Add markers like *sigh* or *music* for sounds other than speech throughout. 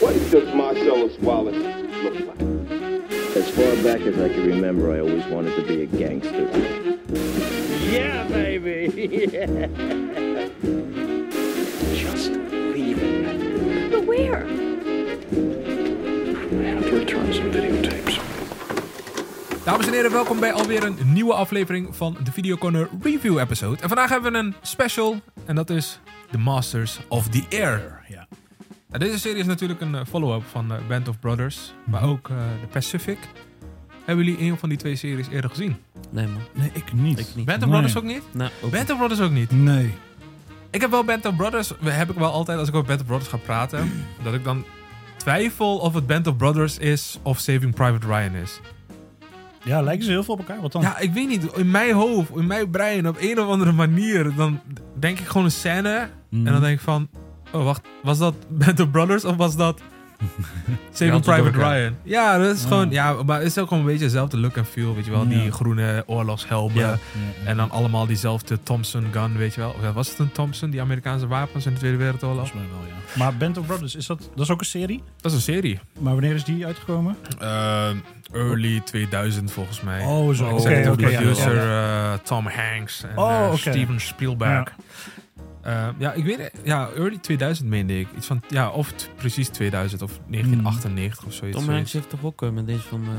what does Marcellus Wallace look like? As far back as I can remember, I always wanted to be a gangster. Yeah, baby. Yeah. Just leave it. But where? I have to return some videotapes. Dames en heren, welkom bij alweer een nieuwe aflevering van de Videoconner Review Episode. En vandaag hebben we een special en dat is The Masters of the Air. Ja. Nou, deze serie is natuurlijk een eh, follow-up van eh, Band of Brothers, maar ook eh, The Pacific. Hebben jullie een van die twee series eerder gezien? Nee, man. Nee, ik niet. Ik niet. Band of Nee. Brothers ook niet? Nou, ook Band of Brothers ook niet. Nee. Ik heb wel Band of Brothers, we- heb ik wel altijd als ik over Band of Brothers ga praten, dat ik dan twijfel of het Band of Brothers is of Saving Private Ryan is. Ja, lijken ze heel veel op elkaar. Wat dan? Ja, ik weet niet. In mijn hoofd, in mijn brein, op een of andere manier, dan denk ik gewoon een scène. Mhm. En dan denk ik van, oh wacht, was dat *laughs* Band of Brothers of was *laughs* dat Saving het Private door elkaar. Ryan? Ja, dat is Ah. gewoon, ja, maar het is ook gewoon een beetje dezelfde look en feel, weet je wel. Ja. Die groene oorlogshelmen. Ja. En dan allemaal diezelfde Thompson gun, weet je wel. Of ja, was het een Thompson, die Amerikaanse wapens in de Tweede Wereldoorlog? Volgens mij wel, ja. Maar Band of Brothers, is dat, dat is ook een serie? Dat is een serie. Maar wanneer is die uitgekomen? Ehm, early 2000 volgens mij. Oh, zo. Oké, Oké, oké, ja, producer ja, eh, Tom Hanks en Oh, eh, oké. Steven Spielberg. *laughs* Ja. Eh, ja, ik weet het. Ja, early 2000 meende ik. Iets van, ja, of t- precies 2000 of 1998 of zoiets. Tom zoiets. Hanks heeft toch ook eh, met deze van... eh,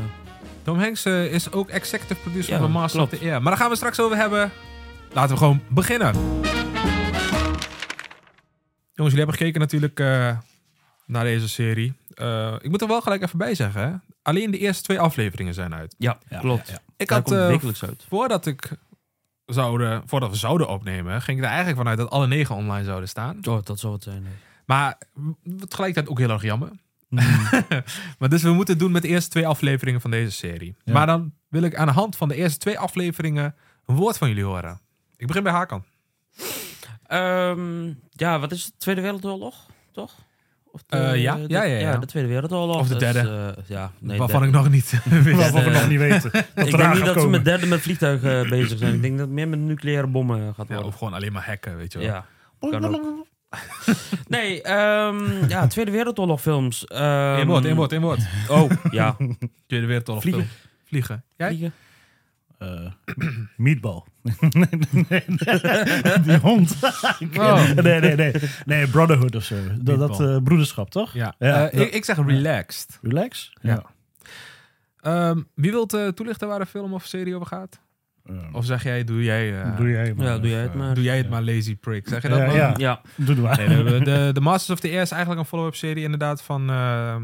Tom Hanks eh, is ook executive producer Ja, van Master of klopt. the Air. Maar daar gaan we het straks over hebben. Laten we gewoon beginnen. Jongens, jullie hebben gekeken natuurlijk eh, naar deze serie. Eh, ik moet er wel gelijk even bij zeggen. hè. Alleen de eerste twee afleveringen zijn uit. ja, Ja, klopt. ja, ja. Ik Daar had, komt eh, wekelijks uit. voordat ik zouden, voordat we zouden opnemen, ging ik er eigenlijk vanuit dat alle negen online zouden staan. Oh, dat zal het zijn. hè. Maar mm, tegelijkertijd ook heel erg jammer. maar dus we moeten het doen met de eerste twee afleveringen van deze serie. Ja. Maar dan wil ik aan de hand van de eerste twee afleveringen een woord van jullie horen. Ik begin bij Hakan. *laughs* Ehm, ja, wat is het? Tweede Wereldoorlog, toch? Of de- Eh, ja. de- Ja, ja, ja. de Tweede Wereldoorlog. Of de Dat is, derde. eh, ja, nee, waarvan derde. ik nog *laughs* niet wist. Waarvan we nog niet *laughs* weten. Dat Ik denk niet dat ze met derde met vliegtuigen eh, *laughs* bezig zijn. Ik denk dat het meer met nucleaire bommen eh, gaat Ja, worden. of gewoon alleen maar hacken, weet je wel. oh, Ja, kan ook. *laughs* Nee, ehm, ja, Tweede Ehm, Wereldoorlog films. Eén woord, één woord, één woord. Oh, *laughs* Ja, Tweede Wereldoorlog. Vliegen. film. Vliegen. Jij? vliegen. Eh. *clears throat* meatball. nee, nee, nee. *laughs* Die *laughs* hond. Oh. nee, nee, nee. Nee, Brotherhood of zo. Dat, dat Meatball. eh, broederschap, toch? Ja. Ja. Eh, ik, ik zeg relaxed. Relax? Ja. Ehm, wie wilt eh, toelichten waar de film of serie over gaat? Eh, Of zeg jij, doe jij, eh, doe jij maar. Ja, doe jij het maar. doe jij het maar lazy prick? Zeg je dat Ja, dan? ja. Ja, Doe het maar. Nee, we hebben de, de Masters of the Air is eigenlijk een follow-up serie inderdaad van eh,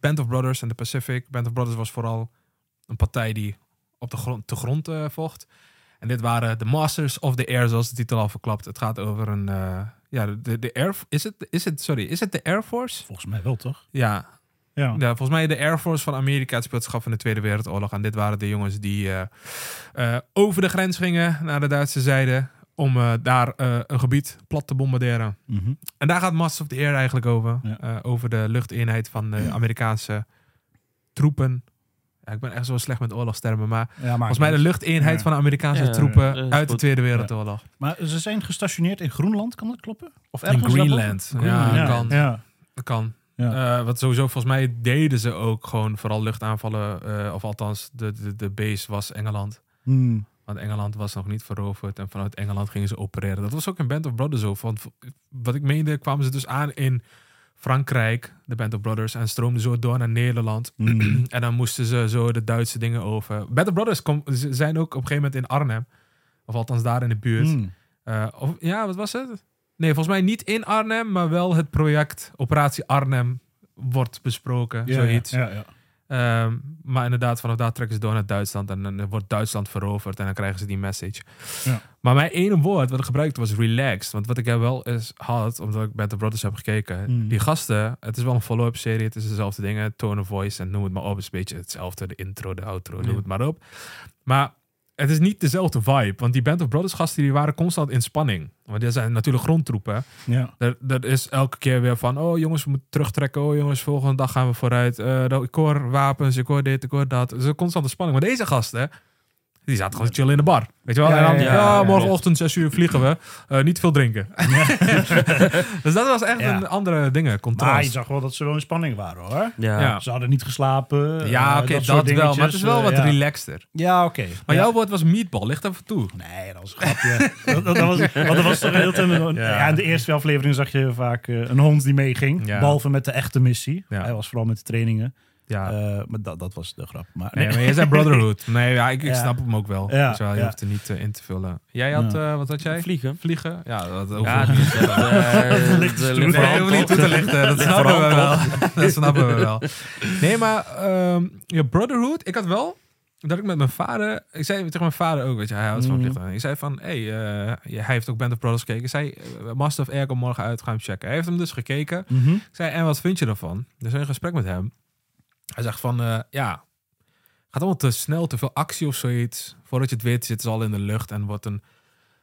Band of Brothers en de Pacific. Band of Brothers was vooral een partij die op de grond, de grond eh, vocht. En dit waren de Masters of the Air, zoals de titel al verklapt. Het gaat over een... eh, ja, de, de Air... Is het, is het, sorry, is het de Air Force? Volgens mij wel, toch? Ja, Ja. ja, volgens mij de Air Force van Amerika het speelschap van de Tweede Wereldoorlog. En dit waren de jongens die eh, eh, over de grens gingen naar de Duitse zijde om eh, daar eh, een gebied plat te bombarderen. Mhm. En daar gaat Masters of the Air eigenlijk over. Ja. Eh, over de luchteenheid van de Amerikaanse troepen. Ja, ik ben echt zo slecht met oorlogstermen, maar ja, maar volgens mij de luchteenheid Ja. van de Amerikaanse Ja, ja, troepen dat is uit de goed. Tweede Wereldoorlog. Maar ze zijn gestationeerd in Groenland, kan dat kloppen? Of In daarboven? Greenland. Ja, ja, kan. ja. Dat kan. Ja. Eh, wat sowieso, volgens mij deden ze ook gewoon vooral luchtaanvallen. eh, of althans, de, de, de base was Engeland. Hmm. Want Engeland was nog niet veroverd. En vanuit Engeland gingen ze opereren. Dat was ook in Band of Brothers zo. Want v- wat ik meende, kwamen ze dus aan in Frankrijk, de Band of Brothers. En stroomden zo door naar Nederland. Mhm. *clears throat* En dan moesten ze zo de Duitse dingen over. Band of Brothers kom, ze zijn ook op een gegeven moment in Arnhem. Of althans daar in de buurt. Hmm. Eh, of, ja, wat was het? Nee, volgens mij niet in Arnhem, maar wel het project Operatie Arnhem wordt besproken, Ja, zoiets. Ja, ja. Ehm, maar inderdaad, vanaf daar trekken ze door naar Duitsland en dan wordt Duitsland veroverd en dan krijgen ze die message. Ja. Maar mijn ene woord wat ik gebruikte was relaxed, want wat ik er wel eens had, omdat ik Band of Brothers heb gekeken, Mm. die gasten, het is wel een follow-up serie, het is dezelfde dingen, tone of voice en noem het maar op, het is een beetje hetzelfde, de intro, de outro, noem Ja. het maar op. Maar het is niet dezelfde vibe, want die Band of Brothers gasten die waren constant in spanning, want er zijn natuurlijk grondtroepen. ja. Er, er is elke keer weer van, oh jongens, we moeten terugtrekken. Oh jongens, volgende dag gaan we vooruit. Eh, nou, ik hoor wapens, ik hoor dit, ik hoor dat. Het is een constante spanning. Maar deze gasten Die zaten gewoon te chillen in de bar. Weet je wel? Ja, en dan, ja, ja, ja, ja, morgenochtend 6 uur vliegen we. Eh, niet veel *laughs* drinken. dus dat was echt Ja. een andere dingen. Maar je Contrast. zag wel dat ze wel in spanning waren hoor. Ja. Ja. Ze hadden niet geslapen. ja, eh, oké, soort dat, wel. Maar het is dingetjes, wel eh, wat ja. relaxter. Ja, oké. Maar Ja. jouw woord was meatball. Ligt even toe. Nee, dat was een grapje. *laughs* dat, dat, dat was, want dat was toch heel ten- ja. in de eerste aflevering zag je vaak eh, een hond die meeging. Ja. Behalve met de echte missie. Ja. Hij was vooral met de trainingen. Ja. Eh, maar dat, dat was de grap. Maar, *laughs* Nee, maar jij zei Brotherhood. Nee, ja, ik, ik Ja. snap hem ook wel. Ja, Dus ja, je ja. hoeft er niet eh, in te vullen. Jij had, eh, wat had jij? Vliegen. *laughs* Vliegen? Ja, dat hoeft Ja, ook die niet. is echt, *laughs* eh, Ligt de te ligt Nee, vooral hoeven niet toe te lichten. *laughs* Dat snappen we vooral wel. *laughs* Dat snappen we wel. Nee, maar ehm, ja, Brotherhood, ik had wel dat ik met mijn vader, ik zei tegen mijn vader ook, weet je, hij houdt van Mhm. vliegtuigen. Ik zei van, hey, eh, ja, hij heeft ook Band of Brothers gekeken. Ik zei, eh, Master of Air komt morgen uit, ga hem checken. Hij heeft hem dus gekeken. *laughs* Mhm. Ik zei, en wat vind je ervan? Dus in een gesprek met hem, hij zegt van, eh, ja, gaat allemaal te snel, te veel actie of zoiets. Voordat je het weet zitten ze al in de lucht en wordt een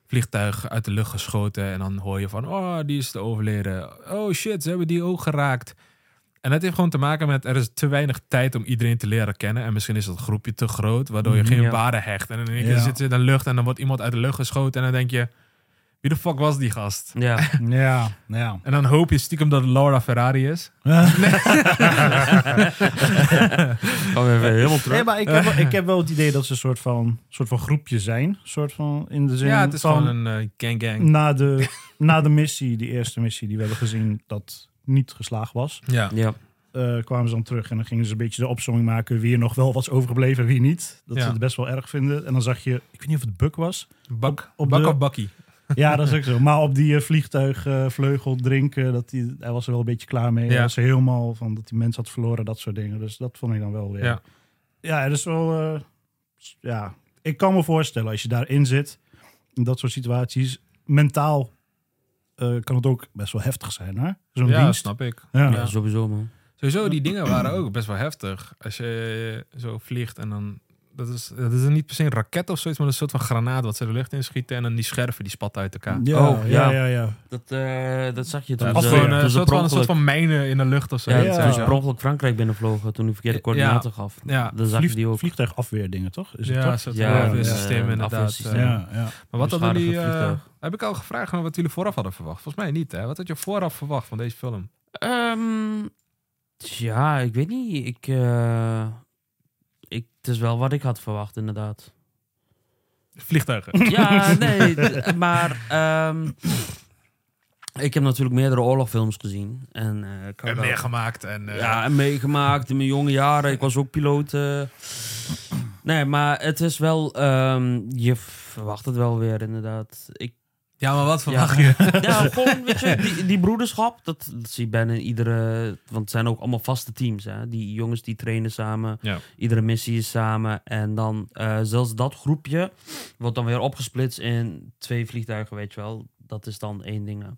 vliegtuig uit de lucht geschoten. En dan hoor je van, oh, die is te overleden. Oh shit, ze hebben die ook geraakt. En dat heeft gewoon te maken met, er is te weinig tijd om iedereen te leren kennen. En misschien is dat groepje te groot, waardoor je Mhm, geen ja. waarde hecht. En in één keer Ja. zitten ze in de lucht en dan wordt iemand uit de lucht geschoten. En dan denk je, wie de fuck was die gast? Ja. Ja, ja. En dan hoop je stiekem dat het Laura Ferrari is. Gaan we even helemaal terug. Nee, maar ik heb, wel, ik heb wel het idee dat ze een soort van, soort van groepje zijn. Soort van, Dus in de zin Ja, het is van, Mm. gewoon een eh, gang gang. na, de, na de missie, die eerste missie die we hebben gezien, dat niet geslaagd was. Ja. Ja. eh, kwamen ze dan terug en dan gingen ze een beetje de opzomming maken wie er nog wel was overgebleven en wie niet. Dat Ja. ze het best wel erg vinden. En dan zag je, ik weet niet of het Buck was. Bak, op bak de- of bakkie. Ja, dat is ook zo. Maar op die eh, vliegtuigvleugel drinken, dat die, hij was er wel een beetje klaar mee. Ja. Hij was er helemaal van dat die mens had verloren, dat soort dingen. Dus dat vond ik dan wel weer. Ja. ja dat is wel... eh, s- ja, ik kan me voorstellen als je daarin zit, in dat soort situaties, mentaal eh, kan het ook best wel heftig zijn, hè? Zo'n Ja, dienst. snap ik. Ja. Ja, sowieso man. Sowieso, die dingen waren ook best wel heftig. Als je eh, zo vliegt en dan... Dat is, dat is niet per se een raket of zoiets, maar dat is een soort van granaat wat ze de lucht inschieten. En dan die scherven die spatten uit elkaar. Ja, Oh, ja, ja. ja, ja. Dat, eh, dat zag je toen. Dat was is ze- gewoon ja. eh, een, toen ze soort per van, een soort ongeluk- van mijnen in de lucht of zo. Dus Ja, Dus- Ja. toen ze per ongeluk Frankrijk binnenvlogen toen hij verkeerde Ja. coördinaten gaf. Ja, Dan zag je die ook. Vliegtuigafweerdingen, toch? Is het ja, toch? een soort Ja, van dus- ja, afweersysteem ja, inderdaad. afweersysteem. Eh, Ja, ja. Maar wat hadden jullie... Beschadigd eh, vliegtuig. heb ik al gevraagd naar wat jullie vooraf hadden verwacht? Volgens mij niet, hè? Wat had je vooraf verwacht van deze film? Ehm, ja, ik weet niet. Ik, eh, ik, het is wel wat ik had verwacht inderdaad. Vliegtuigen. Ja, nee, d- maar ehm, ik heb natuurlijk meerdere oorlogfilms gezien. En, eh, ik *laughs* kan En wel- meegemaakt en... eh, Ja, en meegemaakt in mijn jonge jaren. Ik was ook piloot. eh. Nee, maar het is wel... ehm, je verwacht het wel weer, inderdaad. Ik, ja, maar wat verwacht Ja. je? ja, gewoon, weet je, die, die broederschap, dat, dat zie je bijna in iedere... Want het zijn ook allemaal vaste teams, hè. Die jongens die trainen samen. Ja. Iedere missie is samen. En dan eh, zelfs dat groepje wordt dan weer opgesplitst in twee vliegtuigen, weet je wel. Dat is dan één ding. hè.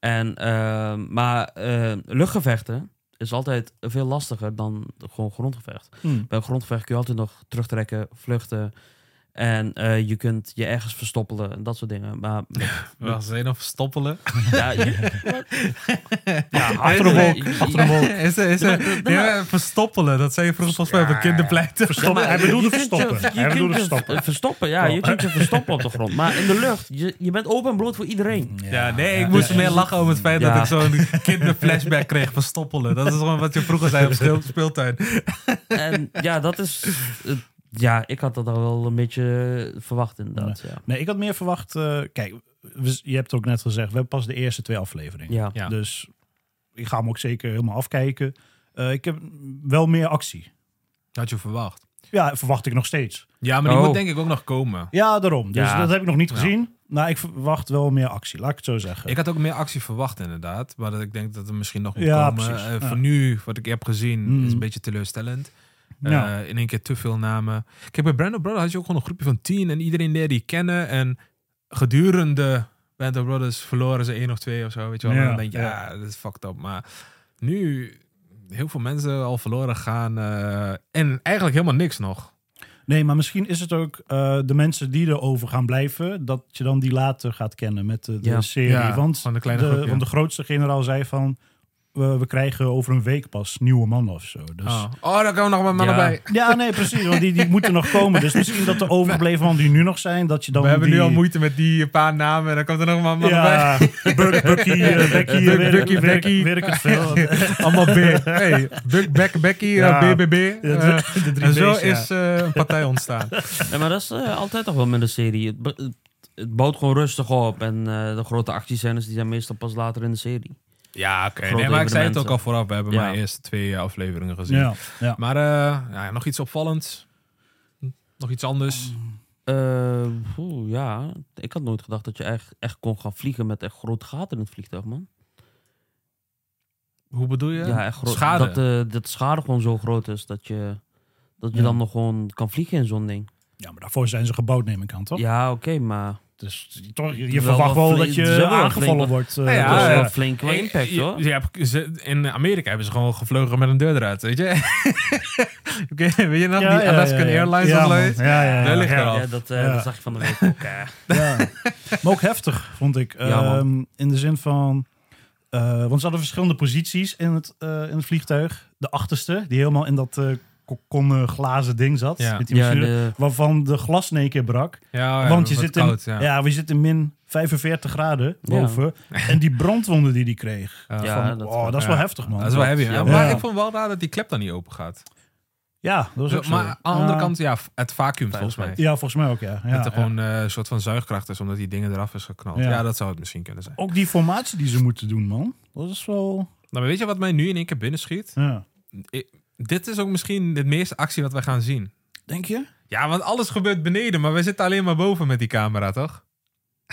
En, ehm, maar eh, luchtgevechten is altijd veel lastiger dan gewoon grondgevecht. Hmm. Bij een grondgevecht kun je altijd nog terugtrekken, vluchten. En eh, je kunt je ergens verstoppelen en dat soort dingen. Maar Wacht, zijn nog verstoppelen? *laughs* ja, je- *laughs* ja, achter de wolk, achter de *laughs* Is er, is er, nee, maar verstoppelen, dat zei je vroeger volgens mij op een kinderpleiten. Stoppen. hij bedoelde Je kunt je- verstoppen. je hij kunt bedoelde je verstoppen. Oh. ver- Verstoppen, ja. Je kunt je verstoppen op de grond. Maar in de lucht, je, je bent open en bloot voor iedereen. *laughs* Mm. Ja, nee, ik moest meer lachen om het feit Ja. dat ik *laughs* zo'n kinderflashback kreeg van stoppelen. Dat is gewoon wat je vroeger zei op *laughs* speel- speeltuin. En ja, dat is... eh, ja, ik had dat al wel een beetje verwacht inderdaad. Ja. Nee, ik had meer verwacht. eh, kijk, we- je hebt het ook net gezegd, we hebben pas de eerste twee afleveringen. Ja. Ja. Dus ik ga hem ook zeker helemaal afkijken. Eh, ik heb wel meer actie. Had je verwacht. Ja, verwacht ik nog steeds. Ja, maar die Oh. moet denk ik ook nog komen. Ja, daarom. Dus Ja. dat heb ik nog niet Ja. gezien. Maar ik verwacht wel meer actie, laat ik het zo zeggen. Ik had ook meer actie verwacht inderdaad, maar dat ik denk dat er misschien nog moet Ja, komen. precies. Eh, Ja. Voor nu, wat ik heb gezien, Mm. is een beetje teleurstellend. Eh, Ja. in één keer te veel namen. Kijk, bij Brand of Brothers had je ook gewoon een groepje van tien en iedereen leerde je kennen. En gedurende Band of Brothers verloren ze één of twee of zo, weet je wel. Ja, en dan denk je, ja. ja, dat is fucked up. Maar nu, heel veel mensen al verloren gaan eh, en eigenlijk helemaal niks nog. Nee, maar misschien is het ook eh, de mensen die erover gaan blijven, dat je dan die later gaat kennen met de, de Ja. serie. Ja, want, van de kleine groep, ja. want de grootste generaal zei van, we, we krijgen over een week pas nieuwe mannen of zo. Dus... Oh. oh, daar komen nog maar mannen Ja. bij. Ja, nee, precies. Want die, die moeten nog komen. Dus misschien *laughs* dat de overgebleven mannen die nu nog zijn, dat je dan We hebben die... nu al moeite met die paar namen en dan komt er nog maar mannen bij. Ja, *laughs* Bur- Bucky, eh, Becky, eh, Buk- weet- Bucky, werk- Becky. werk het *laughs* veel. Allemaal B. Hey, Buck, Beck, Becky, eh, Ja. BBB. eh, De drie en zo B's, ja. is eh, een partij ontstaan. Nee, maar dat is eh, altijd toch wel met een serie. Het, be- het- het bouwt gewoon rustig op. En eh, de grote actiescènes die zijn meestal pas later in de serie. Ja, oké. Grote Nee, maar ik zei het evenementen. ook al vooraf. We hebben Ja. maar eerst twee eh, afleveringen gezien. Ja, ja. Maar eh, nou ja, nog iets opvallends. Nog iets anders. Eh, oeh, ja, ik had nooit gedacht dat je echt, echt kon gaan vliegen met echt groot gaten in het vliegtuig, man. Hoe bedoel je? Ja, echt groot. Schade. Dat, eh, dat de schade gewoon zo groot is dat je, dat je Ja. dan nog gewoon kan vliegen in zo'n ding. ja, maar daarvoor zijn ze gebouwd, neem ik aan, toch? Ja, oké, Ah, maar... Dus toch, je Wel wat verwacht wel flink- dat het is je wel wat aangevallen flink- wordt. eh, Nou ja, dat is dus, wel eh, een flink wel Ik- impact, je- hoor. je hebt- ze- in Amerika hebben ze gewoon gevlogen met een deur eruit, *laughs* weet je? Oké, *laughs* weet je nog? ja, die ja, Alaskan ja, ja. Airlines ja, of man. zoiets? Ja, ja, ja. Daar ligt ja. er al. Ja, dat, eh, Ja. dat zag je van de *laughs* week ook. eh. Ja. *laughs* Maar ook heftig, vond ik. Ja, man. Ehm, in de zin van... eh, want ze hadden verschillende posities in het, eh, in het vliegtuig. De achterste, die helemaal in dat eh kokon eh, glazen ding zat. Ja. Oh Met die Ja, machine, de- Waarvan de glas in één keer brak. Ja, ja, Want je wat zit, koud, in, ja. ja. we zitten min 45 graden Ja. boven. En die brandwonden die die kreeg. Ja. Ja, van, dat- oh, dat is wel ja. heftig, man. Dat is wel heavy. hè? Ja. Maar Ja. ik vond wel raar dat die klep dan niet open gaat. Ja, dat is ook zo. maar aan de andere Ja. kant, ja, het vacuüm volgens mij. Ja, volgens mij ook, ja. ja, dat er ja. gewoon eh, een soort van zuigkracht is, omdat die dingen eraf is geknald. Ja, Ja. dat zou het misschien kunnen zijn. Ook die formatie die ze moeten doen, man. Dat is wel... Nou, maar weet je wat mij nu in één keer binnenschiet? Ja. Dit is ook misschien de meeste actie wat wij gaan zien. Denk je? Ja, want alles gebeurt beneden, maar wij zitten alleen maar boven met die camera, toch? *laughs*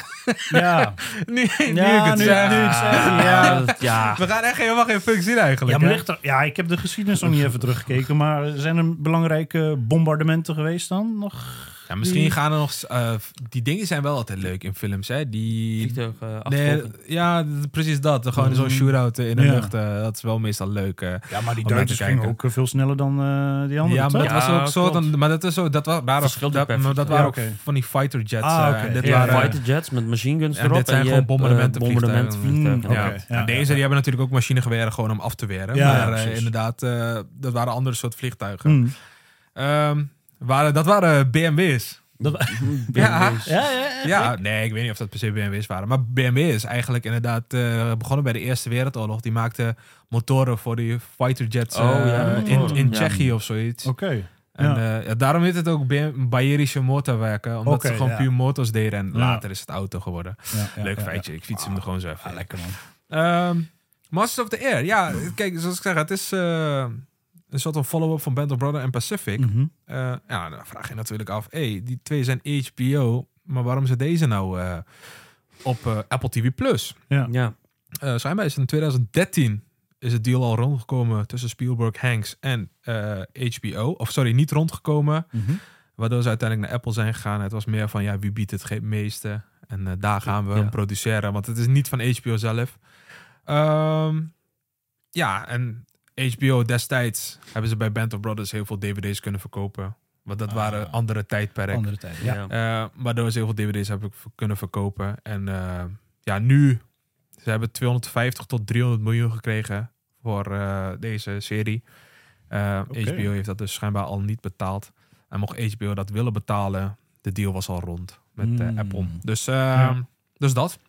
Ja. Nu, nu Ja, ik het nu- zeg. nu ik het zeg, ja. dat- ja. We gaan echt helemaal geen functie zien eigenlijk. Ja, maar hè? ligt er, ja, ik heb de geschiedenis nog niet even teruggekeken. Maar zijn er belangrijke bombardementen geweest dan? Nog? Ja, misschien die- gaan er nog... eh, die dingen zijn wel altijd leuk in films, hè? Die... Vliegtuig, eh, Nee, achtervolging. ja, d- precies dat. Gewoon zo'n shootout eh, in de Mm. Ja. lucht. eh, dat is wel meestal leuk. eh. Ja, maar die Om naar Duitsers te gingen kijken. ook eh, veel sneller dan eh, die andere, Ja, maar toch? dat was ook zo. klopt. Dan, maar dat is zo. Dat, wa- waren, Verschilt dat, ook per maar dat waren Ja, ook oké. van die fighter jets. Ah, eh, oké. en dit Ja, waren ja. Fighter jets met machine guns En erop. dit zijn je gewoon hebt, eh, bombardementenvliegtuigen. bombardementenvliegtuigen. Mm, Ja. oké. Nou, ja, deze ja. die hebben natuurlijk ook machinegeweren gewoon om af te weren. Ja, maar ja, eh, precies. inderdaad, eh, dat waren andere soort vliegtuigen. Hmm. Ehm, waren, dat waren BMW's. Ja. BMW's. Ja, ja, ja. Ja, nee, ik weet niet of dat per se BMW's waren. Maar BMW is eigenlijk inderdaad eh, begonnen bij de Eerste Wereldoorlog. Die maakte motoren voor die fighter jets Oh, eh, ja, in, motoren. in Ja. Tsjechië of zoiets. Oké. En Ja. eh, ja, daarom heet het ook BM Bayerische Motorwerken. Omdat Oké, ze gewoon ja. puur motors deden. En Ja. later is het auto geworden. Ja, ja, Leuk ja, feitje. Ik fiets hem er gewoon zo even. ja. Ah, lekker man. Ehm, Masters of the Air. Ja, kijk, zoals ik zeg, het is eh, een soort van follow-up van Band of Brother en Pacific. Mhm. Eh, ja, dan vraag je natuurlijk af, hey, die twee zijn HBO, maar waarom zit deze nou eh, op eh, Apple TV Plus? Ja. Eh schijnbaar is het in 2013 is het deal al rondgekomen tussen Spielberg, Hanks en eh, HBO. Of sorry, niet rondgekomen, Mhm. waardoor ze uiteindelijk naar Apple zijn gegaan. Het was meer van, ja, wie biedt het ge- meeste? En eh, daar gaan we Ja. hem produceren, want het is niet van HBO zelf. Ehm, ja, en HBO destijds hebben ze bij Band of Brothers heel veel dvd's kunnen verkopen. Want dat Ah. waren andere tijdperken. Andere tijd. Ja. *laughs* Ja. Eh, waardoor ze heel veel dvd's hebben v- kunnen verkopen. En eh, ja, nu... Ze hebben 250 tot 300 miljoen gekregen voor eh, deze serie. Eh, Oké. HBO heeft dat dus schijnbaar al niet betaald. En mocht HBO dat willen betalen, de deal was al rond met eh, Mm. Apple. Dus, eh, Ja. dus dat.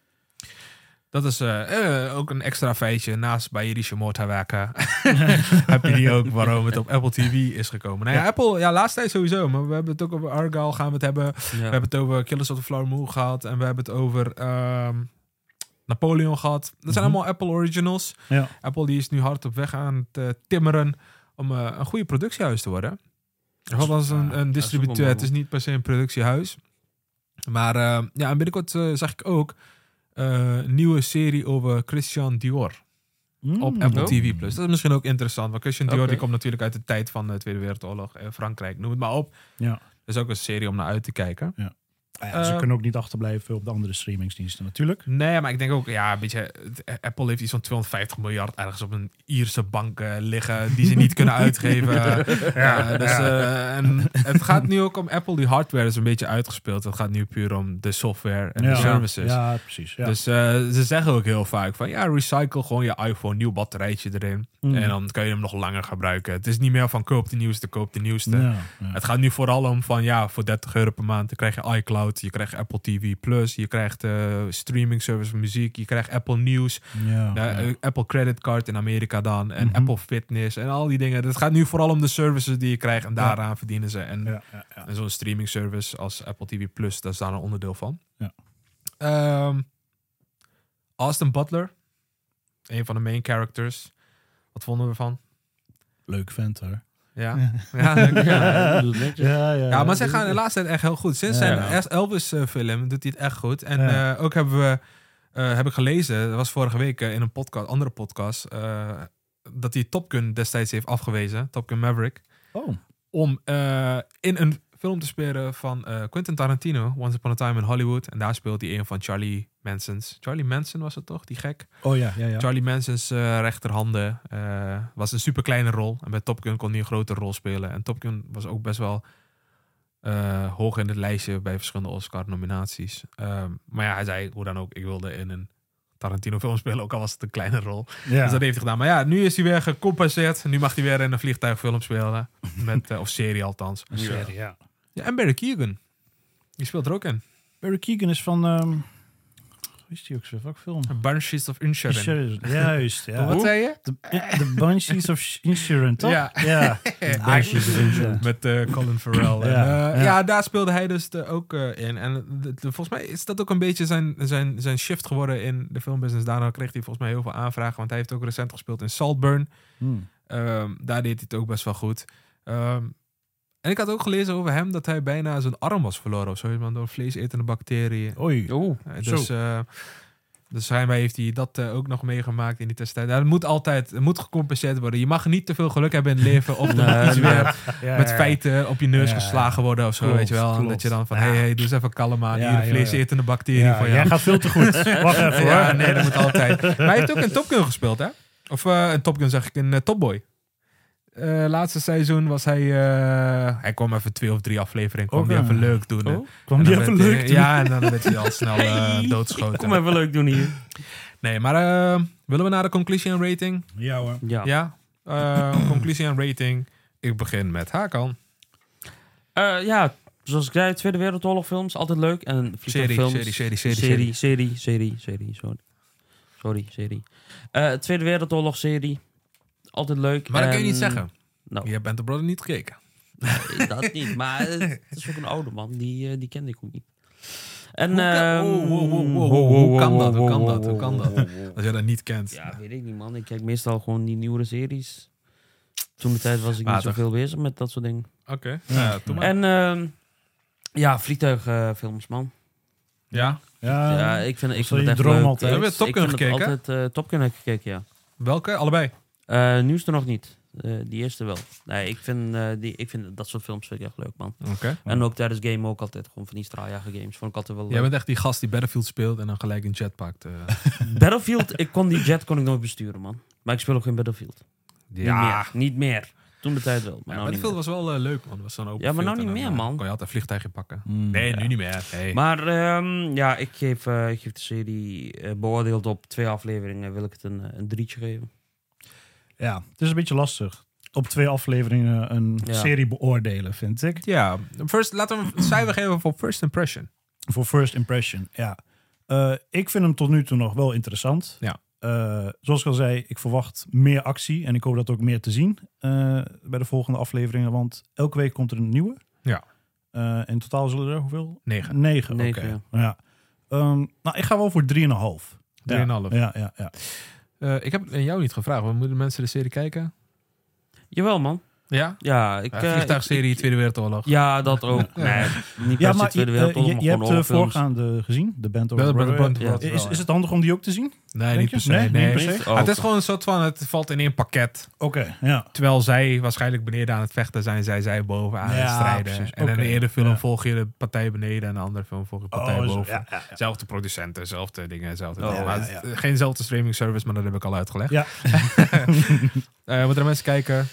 Dat is eh, eh, ook een extra feitje. Naast bij Jirische Moorthawerken *laughs* heb je die ook waarom het op Apple TV is gekomen. Nou ja, Apple, ja, laatst tijd sowieso. Maar we hebben het ook over Argyle gaan we het hebben. We hebben het over Killers of the Flower Moon gehad. En we hebben het over ehm, Napoleon gehad. Dat zijn Mhm. allemaal Apple Originals. Ja. Apple die is nu hard op weg aan het eh, timmeren om eh, een goede productiehuis te worden. Althans, ja, dat een, is ook een wel distributeur. mooi. Het is niet per se een productiehuis. Maar eh, ja, en binnenkort eh, zag ik ook eh, een nieuwe serie over Christian Dior Mm. op Apple Oh. TV+. Plus. Dat is misschien ook interessant, want Christian Dior Oké. die komt natuurlijk uit de tijd van de Tweede Wereldoorlog. eh, Frankrijk, noem het maar op. Ja. Dat is ook een serie om naar uit te kijken. Ja. Nou ja, ze Eh, kunnen ook niet achterblijven op de andere streamingsdiensten natuurlijk. Nee, maar ik denk ook, ja, weet je, het- eh, Apple heeft iets van 250 miljard ergens op een Ierse bank eh, liggen die ze niet *laughs* kunnen uitgeven. ja, dus, eh, en het gaat nu ook om Apple, die hardware is een beetje uitgespeeld. Het gaat nu puur om de software en ja. de services. Ja, precies. Ja. Dus eh, ze zeggen ook heel vaak van ja, recycle gewoon je iPhone, nieuw batterijtje erin. Mm. En dan kan je hem nog langer gebruiken. Het is niet meer van koop de nieuwste, koop de nieuwste. ja, ja. Het gaat nu vooral om van ja, voor 30 euro per maand dan krijg je iCloud, je krijgt Apple TV Plus, je krijgt eh, streaming service voor muziek, je krijgt Apple News, Ja, de, ja. eh, Apple Credit Card in Amerika dan en Mhm. Apple Fitness en al die dingen. Het gaat nu vooral om de services die je krijgt en daaraan verdienen ze. En Ja, ja, ja. en zo'n streaming service als Apple TV Plus, dat is daar een onderdeel van. Ja. Ehm, Austin Butler, een van de main characters. Wat vonden we van? Leuk vent hoor. *laughs* Ja, ja, *laughs* leuk, *laughs* ja. Ja, ja, Ja, maar zij gaan de laatste tijd echt heel goed. Sinds Ja, zijn ja. Elvis-film doet hij het echt goed. En Ja. eh, ook hebben we, eh, heb ik gelezen, dat was vorige week eh, in een podcast, andere podcast, eh, dat hij Top Gun destijds heeft afgewezen, Top Gun Maverick, Oh, om eh, in een film te spelen van eh, Quentin Tarantino, Once Upon a Time in Hollywood. En daar speelt hij een van Charlie Manson's. Charlie Manson was het toch, die gek? oh ja, ja, ja. Charlie Manson's eh, rechterhanden eh, was een super kleine rol. En bij Top Gun kon hij een grote rol spelen. En Top Gun was ook best wel eh, hoog in het lijstje bij verschillende Oscar-nominaties. Ehm, maar ja, hij zei hoe dan ook, ik wilde in een Tarantino-film spelen, ook al was het een kleine rol. Ja. Dus dat heeft hij gedaan. Maar ja, nu is hij weer gecompenseerd. Nu mag hij weer in een vliegtuigfilm *laughs* spelen. Met, eh, of serie althans. Een serie, ja. Ja, en Barry Keegan. Die speelt er ook in. Barry Keegan is van... ehm hoe is die ook zo? Welk film? Banshees of Insurance. Insurance. Juist, ja. Wat zei je? De, de Banshees of Sh- Insurance, toch? Ja. *laughs* ja. Ja. Banshees of Insurance. Met eh, Colin Farrell. En, eh, Ja, ja, ja. daar speelde hij dus eh, ook eh, in. En de- de- volgens mij is dat ook een beetje zijn, zijn, zijn shift geworden in de filmbusiness. Daarna kreeg hij volgens mij heel veel aanvragen. Want hij heeft ook recent gespeeld in Saltburn. Hmm. Ehm, daar deed hij het ook best wel goed. Ehm, en ik had ook gelezen over hem dat hij bijna zijn arm was verloren of zo. iemand Door vleesetende bacteriën. Oei. Oeh. Eh, dus, eh dus schijnbaar heeft hij dat eh, ook nog meegemaakt in die tussentijd. Nou, dat moet altijd het moet gecompenseerd worden. Je mag niet te veel geluk hebben in het leven. Of er moet Nee, iets nee. weer Ja, met ja, ja. feiten op je neus Ja, geslagen worden of zo, klopt, weet je wel. En klopt. Dat je dan van, Ja. hey, hey, doe eens even kalm aan, Ja, hier, ja, een vleesetende bacterie Ja, van Jij jou. gaat veel te *laughs* goed. Wacht even hoor. ja, nee, dat moet altijd. Maar hij heeft ook in Top Gun gespeeld, hè? Of eh in Top Gun zeg ik, in eh, Top Boy. Eh, laatste seizoen was hij... eh, hij kwam even twee of drie afleveringen, kwam Ook, hij eh, even leuk doen. hè. oh, Kwam En die dan even werd- leuk? doen? Ja, en dan werd hij al snel *laughs* eh, doodgeschoten. Kom even leuk doen hier. Nee, maar eh, willen we naar de conclusie en rating? Ja hoor. Ja. Ja. Eh, conclusie en rating. Ik begin met Hakan. Eh, ja, zoals ik zei, Tweede Wereldoorlog films, altijd leuk. En Serie, vliegtuigfilms. serie, serie, serie, serie. serie, serie, serie, serie, sorry. Sorry, serie. Eh, Tweede Wereldoorlog serie. Altijd leuk. Maar dat kun je en- niet zeggen. Nou, Je bent de brother niet gekeken. dat niet. Maar het is ook een oude man. Die, eh, die kende ik ook niet. En, Hoe kan- ehm, oh, wow, wow, wow, ho, wow, ho, hoe kan ho, dat? Hoe ho, kan ho, dat? ho, Hoe kan ho, dat? *laughs* ho. Als jij dat niet kent. Ja, weet ik niet, man. Ik kijk meestal gewoon die nieuwere series. Toen de tijd was ik niet Water. zoveel bezig met dat soort dingen. Oké. Ja, doe maar. En ehm, ja, vliegtuigfilms, man. Ja. Ja, ja, ik vind, ik Ehm, was vind je het echt droom leuk. altijd? Hebben we Top Ik Gun vind het gekeken? altijd eh, Top Gun heb ik gekeken, ja. Welke? Allebei. Eh, nieuwste nog niet. Eh, die eerste wel. Nee, ik vind, eh, die, ik vind dat soort films vind ik echt leuk, man. Oké. En ook tijdens game ook altijd. Gewoon van die straaljager games. Vond ik altijd wel Jij leuk. bent echt die gast die Battlefield speelt en dan gelijk een jet pakt. eh. *laughs* Battlefield, ik kon die jet kon ik nooit besturen, man. Maar ik speel ook geen Battlefield. Niet meer. Niet meer. Toen de tijd wel. Maar Ja, nou niet Battlefield meer. was wel eh, leuk, man. Was dan open Ja, maar nou field en niet dan, meer, eh, man. Kon je altijd een vliegtuigje pakken. Mm. Nee, nu niet meer. Nee. Maar ehm, ja, ik geef, eh, ik geef de serie eh, beoordeeld op twee afleveringen. Wil ik het een, eh, een drietje geven? Ja, het is een beetje lastig. Op twee afleveringen een Ja. serie beoordelen, vind ik. ja, first, laten we een cijfer geven voor first impression. Voor first impression, ja. Eh, ik vind hem tot nu toe nog wel interessant. Ja. Eh, zoals ik al zei, ik verwacht meer actie. En ik hoop dat ook meer te zien eh, bij de volgende afleveringen. Want elke week komt er een nieuwe. Ja. Eh, in totaal zullen er hoeveel? 9. Negen, oké. Negen, ja. Ehm, nou, ik ga wel voor 3,5. 3,5. Ja, ja, ja. Eh, ik heb het aan jou niet gevraagd, maar moeten mensen de serie kijken? Jawel, man. Ja? Ja, ik... Ja, eh, vliegtuigserie Tweede Wereldoorlog. ja, dat ook. Nee, niet Ja, per se maar Tweede je, Wereldoorlog, je- maar je hebt gewoon de oorlogsfilms. voorgaande gezien, de Band of Band of Brothers. Brothers, ja. Brothers wel, Is, ja. is het handig om die ook te zien? Nee, Denk niet je? per se. Nee, Nee, niet per se? Oh, Ah, het is oké. gewoon een soort van, het valt in één pakket. Oké, ja. Terwijl zij waarschijnlijk beneden aan het vechten zijn, zijn zij bovenaan aan het Ja, strijden. precies. En in Oké, de ene film ja. volg je de partij beneden en de andere film volg je de partij Oh, zo, boven. ja, ja, ja. Zelfde producenten, zelfde dingen, zelfde Oh, dingen. ja, Maar het- ja. Geenzelfde streaming service, maar dat heb ik al uitgelegd. Ja, Eh, moeten er mensen kijken?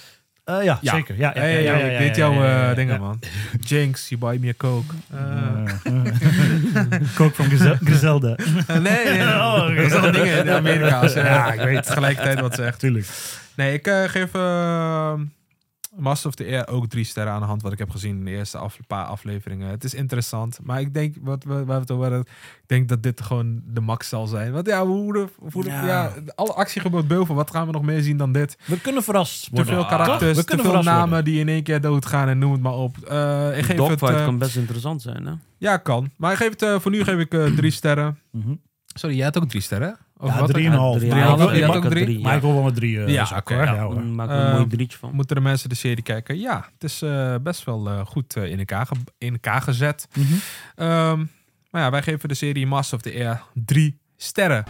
Eh, ja, Ja. zeker. Ja, ja, hey, ja, yo, ja, ja, ik weet ja, jouw ja, ja, eh, ja. Mm. dingen, man. Jinx, you buy me a coke. Eh, *laughs* Kook van *laughs* Grizel- Griselda. nee, *laughs* nee, nee. *laughs* Oh, oké. dat zijn dingen in Amerika. als- Ja, ik weet tegelijkertijd wat ze echt Tuurlijk. Nee, ik eh, geef eh, Master of the Air ook drie sterren aan de hand wat ik heb gezien in de eerste af, paar afleveringen. Het is interessant, maar ik denk wat we, waar we het over hadden, ik denk dat dit gewoon de max zal zijn. Want ja, hoe de, hoe de- ja. Ja. alle actie gebeurt boven. Wat gaan we nog meer zien dan dit? We kunnen verrast Te worden. veel Ah, karakters, we te kunnen veel verrast namen worden. die in één keer doodgaan en noem het maar op. Eh, ik Die geef het, dogfight eh, kan best interessant zijn, hè? ja, kan. Maar ik geef het, eh, voor nu geef ik eh, drie sterren. Mhm. Sorry, jij had ook drie sterren? Of Ja, wat? drieënhalf. Ja, Drieënhalf. drieënhalf. Ik wil- Ja, ik wil- drie. drie, Maar ja. ik wil wel met drie eh, Ja, zakken, oké. hoor. Ja, hoor. Maak er een Eh, mooi drietje van. Moeten de mensen de serie kijken? Ja, het is eh, best wel eh, goed eh, in, elkaar ge- in elkaar gezet. Mhm. Ehm, maar ja, wij geven de serie Master of the Air drie sterren.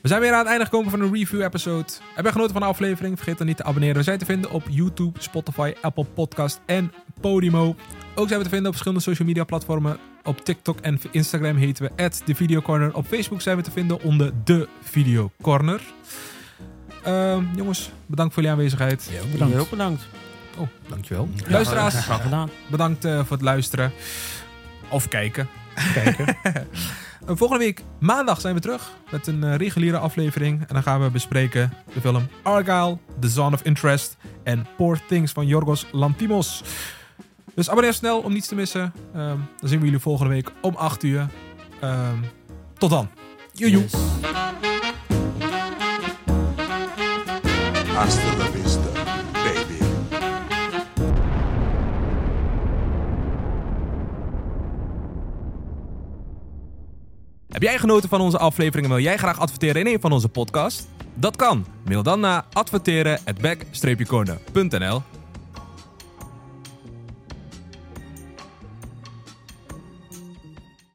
We zijn weer aan het einde gekomen van een review-episode. Heb je genoten van de aflevering? Vergeet dan niet te abonneren. We zijn te vinden op YouTube, Spotify, Apple Podcast en Podimo. Ook zijn we te vinden op verschillende social media platformen. Op TikTok en Instagram heten we The Video Corner. Op Facebook zijn we te vinden onder The Video Corner. Ehm, jongens, bedankt voor jullie aanwezigheid. Ja, bedankt. Heel bedankt. Oh, dankjewel. Ja, Luisteraars, Graag gedaan. bedankt eh, voor het luisteren. Of kijken. *laughs* kijken. Volgende week, maandag, zijn we terug met een eh, reguliere aflevering. En dan gaan we bespreken de film Argyle, The Zone of Interest en Poor Things van Jorgos Lantimos. Dus abonneer snel om niets te missen. Ehm, dan zien we jullie volgende week om 8 uur. Ehm, tot dan. Joejoe. Yes. Hasta la vista, baby. Heb jij genoten van onze aflevering en wil jij graag adverteren in een van onze podcasts? Dat kan. Mail dan naar adverteren at back-corner.nl